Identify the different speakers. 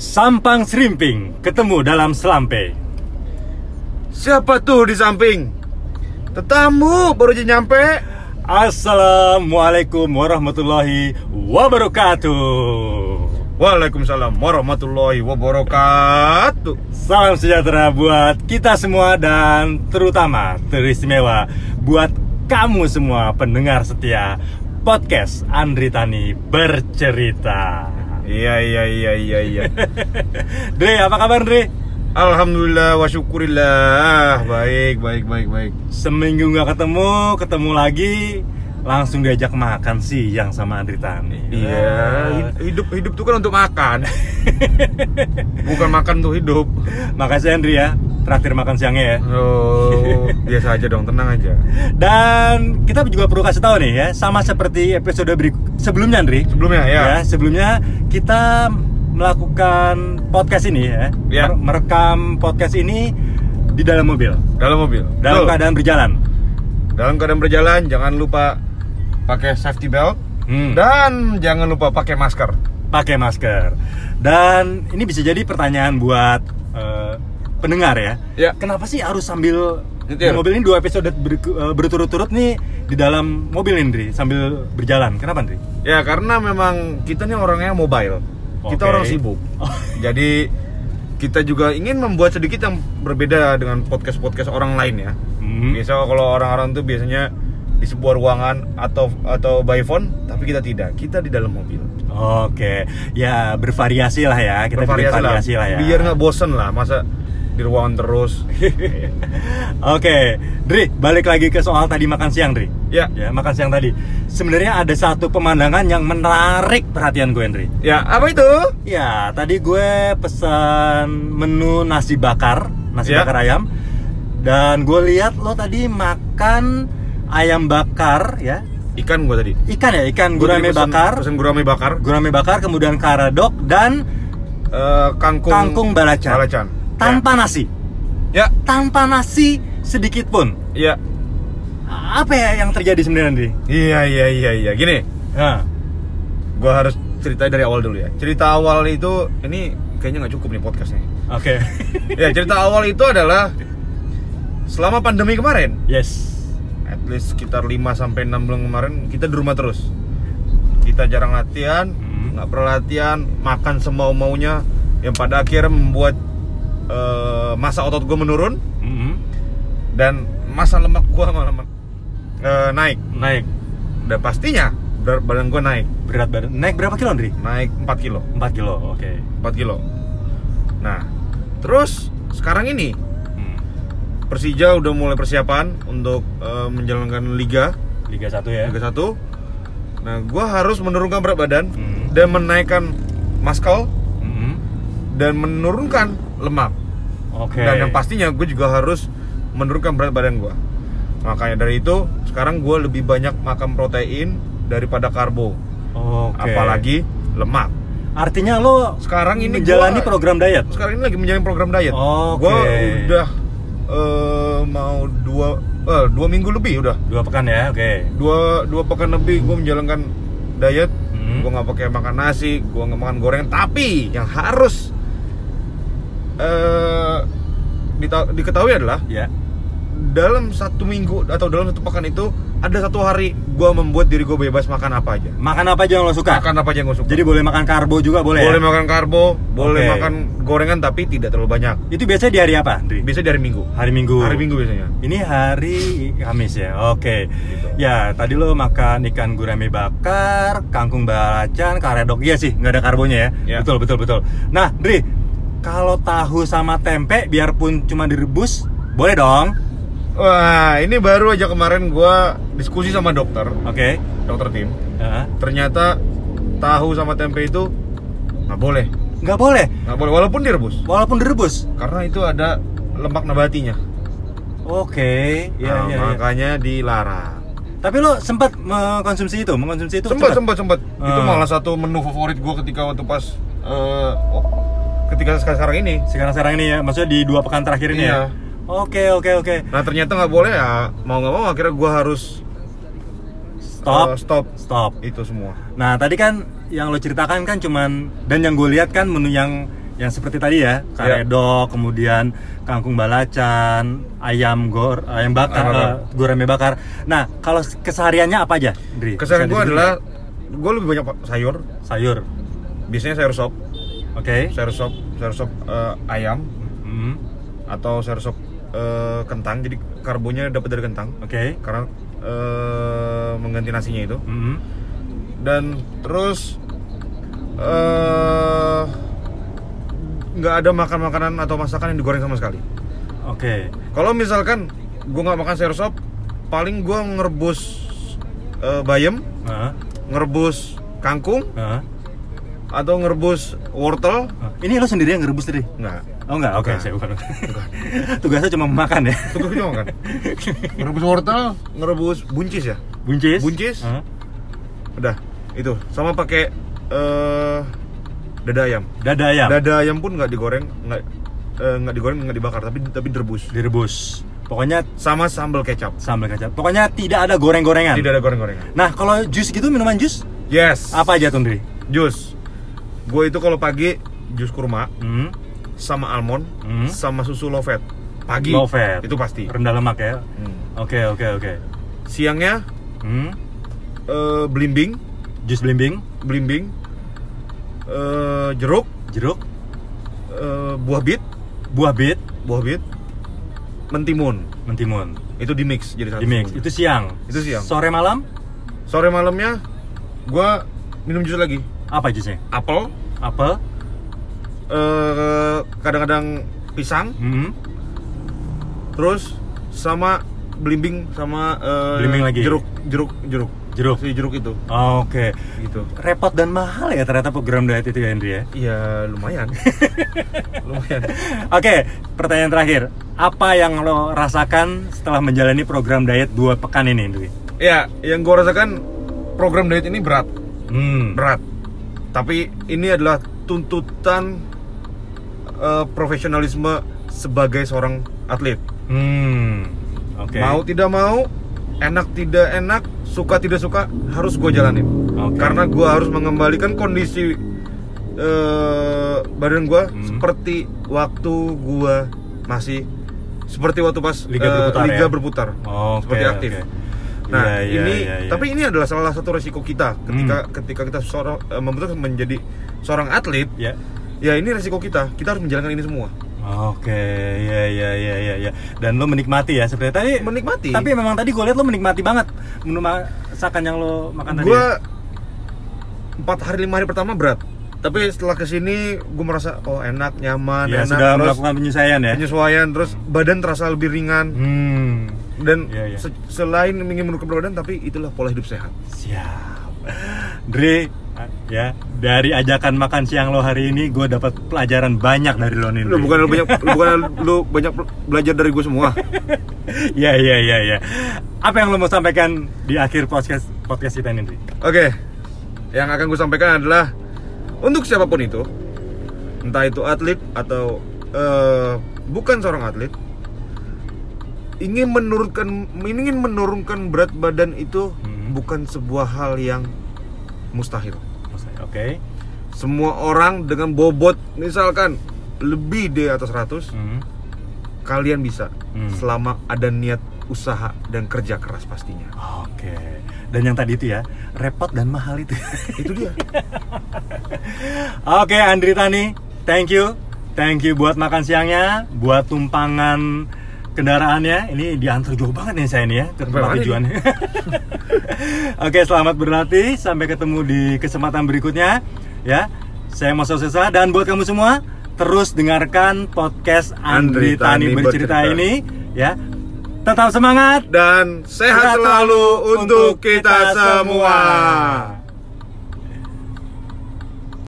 Speaker 1: Sampang Serimping ketemu dalam selampe.
Speaker 2: Siapa tuh di samping? Tetamu baru aja nyampe.
Speaker 1: Assalamualaikum warahmatullahi wabarakatuh.
Speaker 2: Waalaikumsalam warahmatullahi wabarakatuh.
Speaker 1: Salam sejahtera buat kita semua dan terutama teristimewa buat kamu semua pendengar setia podcast Andri Tani bercerita.
Speaker 2: Iya iya iya iya iya.
Speaker 1: Dre, apa kabar Dre?
Speaker 2: Alhamdulillah wa syukurillah. Baik baik baik baik.
Speaker 1: Seminggu nggak ketemu, ketemu lagi langsung diajak makan siang sama Andri Tani.
Speaker 2: Iya, hid- hidup hidup tuh kan untuk makan. Bukan makan untuk hidup.
Speaker 1: Makasih Andri ya, traktir makan siangnya ya.
Speaker 2: Oh, biasa aja dong, tenang aja.
Speaker 1: Dan kita juga perlu kasih tahu nih ya, sama seperti episode beri- sebelumnya Andri.
Speaker 2: Sebelumnya ya.
Speaker 1: Ya, sebelumnya kita melakukan podcast ini ya.
Speaker 2: Ya.
Speaker 1: Mer- Merekam podcast ini di dalam mobil,
Speaker 2: Dalam mobil.
Speaker 1: dalam
Speaker 2: Tuh,
Speaker 1: keadaan berjalan.
Speaker 2: dalam keadaan berjalan jangan lupa pakai safety belt
Speaker 1: Hmm.
Speaker 2: dan jangan lupa pakai masker.
Speaker 1: pakai masker. Dan ini bisa jadi pertanyaan buat eh, pendengar ya.
Speaker 2: Ya.
Speaker 1: Kenapa sih harus sambil di
Speaker 2: Nyetir.
Speaker 1: mobil ini dua episode ber- eh, berturut-turut nih di dalam mobil ini, Dri, sambil berjalan. Kenapa, Dri?
Speaker 2: Ya karena memang kita nih orangnya mobile, kita
Speaker 1: Oke.
Speaker 2: orang sibuk.
Speaker 1: Oh.
Speaker 2: Jadi kita juga ingin membuat sedikit yang berbeda dengan podcast-podcast orang lain ya.
Speaker 1: Hmm.
Speaker 2: Biasa kalau orang-orang tuh biasanya di sebuah ruangan atau atau by phone, tapi kita tidak. Kita di dalam mobil.
Speaker 1: Oke. Ya, bervariasi lah ya. Kita bikin
Speaker 2: Bervariasi lah.
Speaker 1: variasi lah ya.
Speaker 2: Biar nggak bosen lah, masa di ruangan terus.
Speaker 1: Oke, Dri, balik lagi ke soal tadi makan siang, Dri.
Speaker 2: Ya.
Speaker 1: Ya, makan siang tadi. Sebenarnya ada satu pemandangan yang menarik perhatian gue, Dri.
Speaker 2: ya apa itu?
Speaker 1: Ya, tadi gue pesan menu nasi bakar, nasi
Speaker 2: Ya.
Speaker 1: bakar ayam. Dan gue lihat lo tadi makan ayam bakar ya.
Speaker 2: Ikan gua tadi.
Speaker 1: Ikan ya, ikan
Speaker 2: Gua tadi
Speaker 1: gurame
Speaker 2: pesen-
Speaker 1: bakar.
Speaker 2: Pesen gurame bakar.
Speaker 1: Gurame bakar kemudian karadok dan
Speaker 2: Eh, kangkung.
Speaker 1: kangkung balacan.
Speaker 2: Balacan.
Speaker 1: Tanpa nasi.
Speaker 2: Ya.
Speaker 1: Tanpa nasi sedikit pun.
Speaker 2: Ya.
Speaker 1: Apa ya yang terjadi sebenarnya Dri?
Speaker 2: Iya iya iya iya. Gini.
Speaker 1: Nah,
Speaker 2: gue harus cerita dari awal dulu ya cerita awal itu ini kayaknya nggak cukup nih podcastnya
Speaker 1: oke.
Speaker 2: ya cerita awal itu adalah selama pandemi kemarin
Speaker 1: yes.
Speaker 2: at least sekitar 5 sampai 6 bulan kemarin kita di rumah terus kita jarang latihan
Speaker 1: Hmm.
Speaker 2: nggak pernah latihan makan semau maunya yang pada akhirnya membuat eh, masa otot gue menurun
Speaker 1: Mhm.
Speaker 2: dan masa lemak gue malah eh, naik
Speaker 1: Naik
Speaker 2: dan pastinya berat badan gue naik
Speaker 1: berat badan. Naik berapa kilo, Dri?
Speaker 2: naik 4 kilo
Speaker 1: 4 kilo. Oke.
Speaker 2: 4 kilo. Nah, terus sekarang ini
Speaker 1: Hmm.
Speaker 2: Persija udah mulai persiapan untuk eh, menjalankan liga
Speaker 1: Liga 1 ya.
Speaker 2: Liga 1. Nah, gua harus menurunkan berat badan
Speaker 1: Hmm.
Speaker 2: dan menaikkan muscle
Speaker 1: Mhm.
Speaker 2: dan menurunkan lemak.
Speaker 1: Oke.
Speaker 2: Dan yang pastinya gue juga harus menurunkan berat badan gua. Makanya dari itu sekarang gua lebih banyak makan protein daripada karbo,
Speaker 1: Oke.
Speaker 2: apalagi lemak.
Speaker 1: artinya lo
Speaker 2: Sekarang ini
Speaker 1: menjalani
Speaker 2: gua-
Speaker 1: program diet.
Speaker 2: sekarang ini lagi menjalin program diet.
Speaker 1: Oke.
Speaker 2: Gua udah eh, mau dua eh, dua minggu lebih udah
Speaker 1: Dua pekan ya, oke.
Speaker 2: dua dua pekan lebih gue menjalankan diet.
Speaker 1: Hmm.
Speaker 2: Gue nggak pakai makan nasi, gue nggak makan goreng. Tapi yang harus eh dita- diketahui adalah
Speaker 1: Ya.
Speaker 2: dalam satu minggu atau dalam satu pekan itu ada satu hari gue membuat diri gue bebas makan apa aja.
Speaker 1: Makan apa aja yang lo suka?
Speaker 2: Makan apa aja yang gue suka.
Speaker 1: Jadi boleh makan karbo juga boleh.
Speaker 2: boleh
Speaker 1: ya?
Speaker 2: makan karbo, boleh
Speaker 1: Oke.
Speaker 2: makan gorengan tapi tidak terlalu banyak.
Speaker 1: Itu biasanya di hari apa, Andri?
Speaker 2: Biasanya dari minggu.
Speaker 1: Hari Minggu.
Speaker 2: Hari minggu biasanya.
Speaker 1: Ini hari Kamis ya. Oke.
Speaker 2: Gitu.
Speaker 1: Ya, tadi lo makan ikan gurame bakar, kangkung balacan, karedok Iya sih, nggak ada karbonya ya.
Speaker 2: Ya.
Speaker 1: Betul, betul, betul. Nah, Dri, kalau tahu sama tempe biarpun cuma direbus, boleh dong.
Speaker 2: Wah, ini baru aja kemarin gua diskusi sama dokter,
Speaker 1: Oke.
Speaker 2: dokter tim.
Speaker 1: Heeh.
Speaker 2: Ternyata tahu sama tempe itu nggak boleh,
Speaker 1: Nggak boleh,
Speaker 2: nggak boleh walaupun direbus,
Speaker 1: walaupun direbus.
Speaker 2: karena itu ada lemak nabatinya.
Speaker 1: Oke, ya,
Speaker 2: Nah,
Speaker 1: ya, ya.
Speaker 2: makanya dilarang.
Speaker 1: Tapi lo sempat mengkonsumsi itu, mengkonsumsi itu
Speaker 2: Sempat, sempat, sempat. Itu
Speaker 1: Ah.
Speaker 2: malah satu menu favorit gua ketika waktu pas eh, oh, ketika sekarang, sekarang ini.
Speaker 1: Sekarang sekarang ini ya, maksudnya di dua pekan terakhir ini
Speaker 2: Iya.
Speaker 1: ya. Oke, oke, oke.
Speaker 2: Nah ternyata nggak boleh ya, mau nggak mau akhirnya gua harus eh,
Speaker 1: Stop,
Speaker 2: stop
Speaker 1: stop.
Speaker 2: itu semua.
Speaker 1: Nah, tadi kan yang lo ceritakan kan cuman dan yang gue lihat kan menu yang yang seperti tadi ya
Speaker 2: Iya.
Speaker 1: karedok kemudian kangkung balacan ayam gor ayam bakar
Speaker 2: Ayam bakar.
Speaker 1: eh, gurame bakar nah kalau kesehariannya apa aja Dri? Iya,
Speaker 2: Kesan
Speaker 1: Bisa
Speaker 2: gue
Speaker 1: disebutin.
Speaker 2: adalah gue lebih banyak sayur.
Speaker 1: sayur
Speaker 2: Biasanya sayur sop,
Speaker 1: oke
Speaker 2: sayur sop, sayur sop eh, ayam
Speaker 1: Hmm,
Speaker 2: atau sayur sop eh, kentang. Jadi karbonya dapat dari kentang
Speaker 1: oke
Speaker 2: karena eh, mengganti nasinya itu.
Speaker 1: Hmm,
Speaker 2: Dan terus eh, nggak ada makan makanan atau masakan yang digoreng sama sekali.
Speaker 1: oke
Speaker 2: Kalau misalkan gue nggak makan sayur sop, paling gue ngerebus eh, bayam,
Speaker 1: Heeh,
Speaker 2: ngerebus kangkung
Speaker 1: heeh.
Speaker 2: atau ngerebus wortel
Speaker 1: Heeh. ini lo sendiri yang ngerebus Dri?
Speaker 2: nggak
Speaker 1: Oh enggak, oke,
Speaker 2: Bukan.
Speaker 1: saya bukan. Tugasnya cuma makan ya.
Speaker 2: Tugas cuma makan ngerebus wortel kan? ngerebus buncis ya
Speaker 1: Buncis.
Speaker 2: Buncis.
Speaker 1: Heeh.
Speaker 2: udah itu sama pakai eh dada ayam
Speaker 1: Dada ayam.
Speaker 2: dada ayam pun nggak digoreng nggak eh, nggak digoreng nggak dibakar tapi tapi direbus
Speaker 1: Direbus. Pokoknya
Speaker 2: sama sambal kecap
Speaker 1: sambal kacang. Pokoknya tidak ada goreng-gorengan.
Speaker 2: tidak ada goreng-gorengan
Speaker 1: Nah, kalau jus gitu minuman jus
Speaker 2: yes
Speaker 1: apa aja tuh, Dri?
Speaker 2: jus gue itu kalau pagi jus kurma
Speaker 1: Hmm.
Speaker 2: sama almond
Speaker 1: Hmm.
Speaker 2: sama susu low fat pagi
Speaker 1: Low fat.
Speaker 2: itu pasti
Speaker 1: Rendah lemak ya.
Speaker 2: Hmm.
Speaker 1: Oke, oke, oke.
Speaker 2: siangnya
Speaker 1: Hmm.
Speaker 2: eh, belimbing
Speaker 1: Jus belimbing,
Speaker 2: belimbing eh, jeruk
Speaker 1: jeruk,
Speaker 2: eh, buah bit
Speaker 1: buah bit,
Speaker 2: buah bit mentimun
Speaker 1: mentimun.
Speaker 2: itu di mix jadi satu
Speaker 1: Di mix.
Speaker 2: semuanya.
Speaker 1: Itu siang.
Speaker 2: Itu siang.
Speaker 1: Sore malam
Speaker 2: sore malamnya gua minum jus lagi
Speaker 1: apa jusnya?
Speaker 2: apel
Speaker 1: Apel.
Speaker 2: eh, kadang-kadang pisang
Speaker 1: Hmm.
Speaker 2: terus sama belimbing sama eh,
Speaker 1: Belimbing lagi.
Speaker 2: jeruk jeruk jeruk
Speaker 1: Jeruk.
Speaker 2: si jeruk itu
Speaker 1: Oke.
Speaker 2: gitu
Speaker 1: Repot dan mahal ya ternyata program diet itu ya, Andri ya.
Speaker 2: iya lumayan lumayan
Speaker 1: Oke, pertanyaan terakhir. Apa yang lo rasakan setelah menjalani program diet dua pekan ini, Dwi?
Speaker 2: ya yang gua rasakan program diet ini berat
Speaker 1: Hmm.
Speaker 2: berat tapi ini adalah tuntutan eh, profesionalisme sebagai seorang atlet
Speaker 1: Hmm. Oke.
Speaker 2: mau tidak mau enak tidak enak suka tidak suka harus gue jalanin
Speaker 1: Oke.
Speaker 2: karena gue harus mengembalikan kondisi eh, badan gue
Speaker 1: Hmm.
Speaker 2: seperti waktu gue masih seperti waktu pas
Speaker 1: Liga
Speaker 2: eh,
Speaker 1: berputar ya?
Speaker 2: liga berputar
Speaker 1: Oke,
Speaker 2: seperti aktif
Speaker 1: oke.
Speaker 2: nah
Speaker 1: Iya, iya, iya,
Speaker 2: ini
Speaker 1: Hmm. iya.
Speaker 2: tapi ini adalah salah satu resiko kita ketika ketika kita seorang eh, membentuk menjadi seorang atlet
Speaker 1: Ya.
Speaker 2: ya ini resiko kita kita harus menjalankan ini semua
Speaker 1: Oke, ya ya ya ya ya. Dan lo menikmati ya seperti tadi.
Speaker 2: Menikmati.
Speaker 1: Tapi memang tadi gue lihat lo menikmati banget menu masakan yang lo makan tadi.
Speaker 2: gue
Speaker 1: ya?
Speaker 2: empat hari lima hari pertama berat tapi setelah kesini gue merasa oh enak nyaman
Speaker 1: ya,
Speaker 2: enak
Speaker 1: sudah
Speaker 2: terus
Speaker 1: melakukan penyesuaian ya.
Speaker 2: penyesuaian terus badan terasa lebih ringan
Speaker 1: Hmm.
Speaker 2: dan
Speaker 1: Iya, iya.
Speaker 2: se- selain ingin menurunkan berat badan tapi itulah pola hidup sehat
Speaker 1: Siap. Dre, ya dari ajakan makan siang lo hari ini gue dapat pelajaran banyak dari lo nih.
Speaker 2: lu
Speaker 1: Dre.
Speaker 2: bukan lu banyak lu bukan lu banyak belajar dari gue semua
Speaker 1: Ya ya ya ya. Apa yang lo mau sampaikan di akhir podcast podcast kita ini? Dri?
Speaker 2: Oke, yang akan gue sampaikan adalah untuk siapapun itu, entah itu atlet atau eh, bukan seorang atlet, ingin menurunkan ingin menurunkan berat badan itu
Speaker 1: Hmm.
Speaker 2: bukan sebuah hal yang mustahil.
Speaker 1: Oke.
Speaker 2: Semua orang dengan bobot misalkan lebih di atas 100,
Speaker 1: Hmm.
Speaker 2: kalian bisa
Speaker 1: Hmm.
Speaker 2: selama ada niat usaha dan kerja keras pastinya.
Speaker 1: Oke. Dan yang tadi itu ya repot dan mahal itu.
Speaker 2: Itu dia.
Speaker 1: Oke Andri Tani, thank you, thank you buat makan siangnya, buat tumpangan kendaraannya. Ini diantar jauh banget nih saya ini ya ke
Speaker 2: Sampai
Speaker 1: tempat
Speaker 2: mana
Speaker 1: tujuannya. Oke selamat berlatih, sampai ketemu di kesempatan berikutnya. Ya, saya Mas Sesa dan buat kamu semua terus dengarkan podcast Andri,
Speaker 2: Andri
Speaker 1: Tani,
Speaker 2: Tani
Speaker 1: bercerita,
Speaker 2: Bercerita.
Speaker 1: ini. Ya, tetap semangat
Speaker 2: dan sehat selalu untuk kita semua.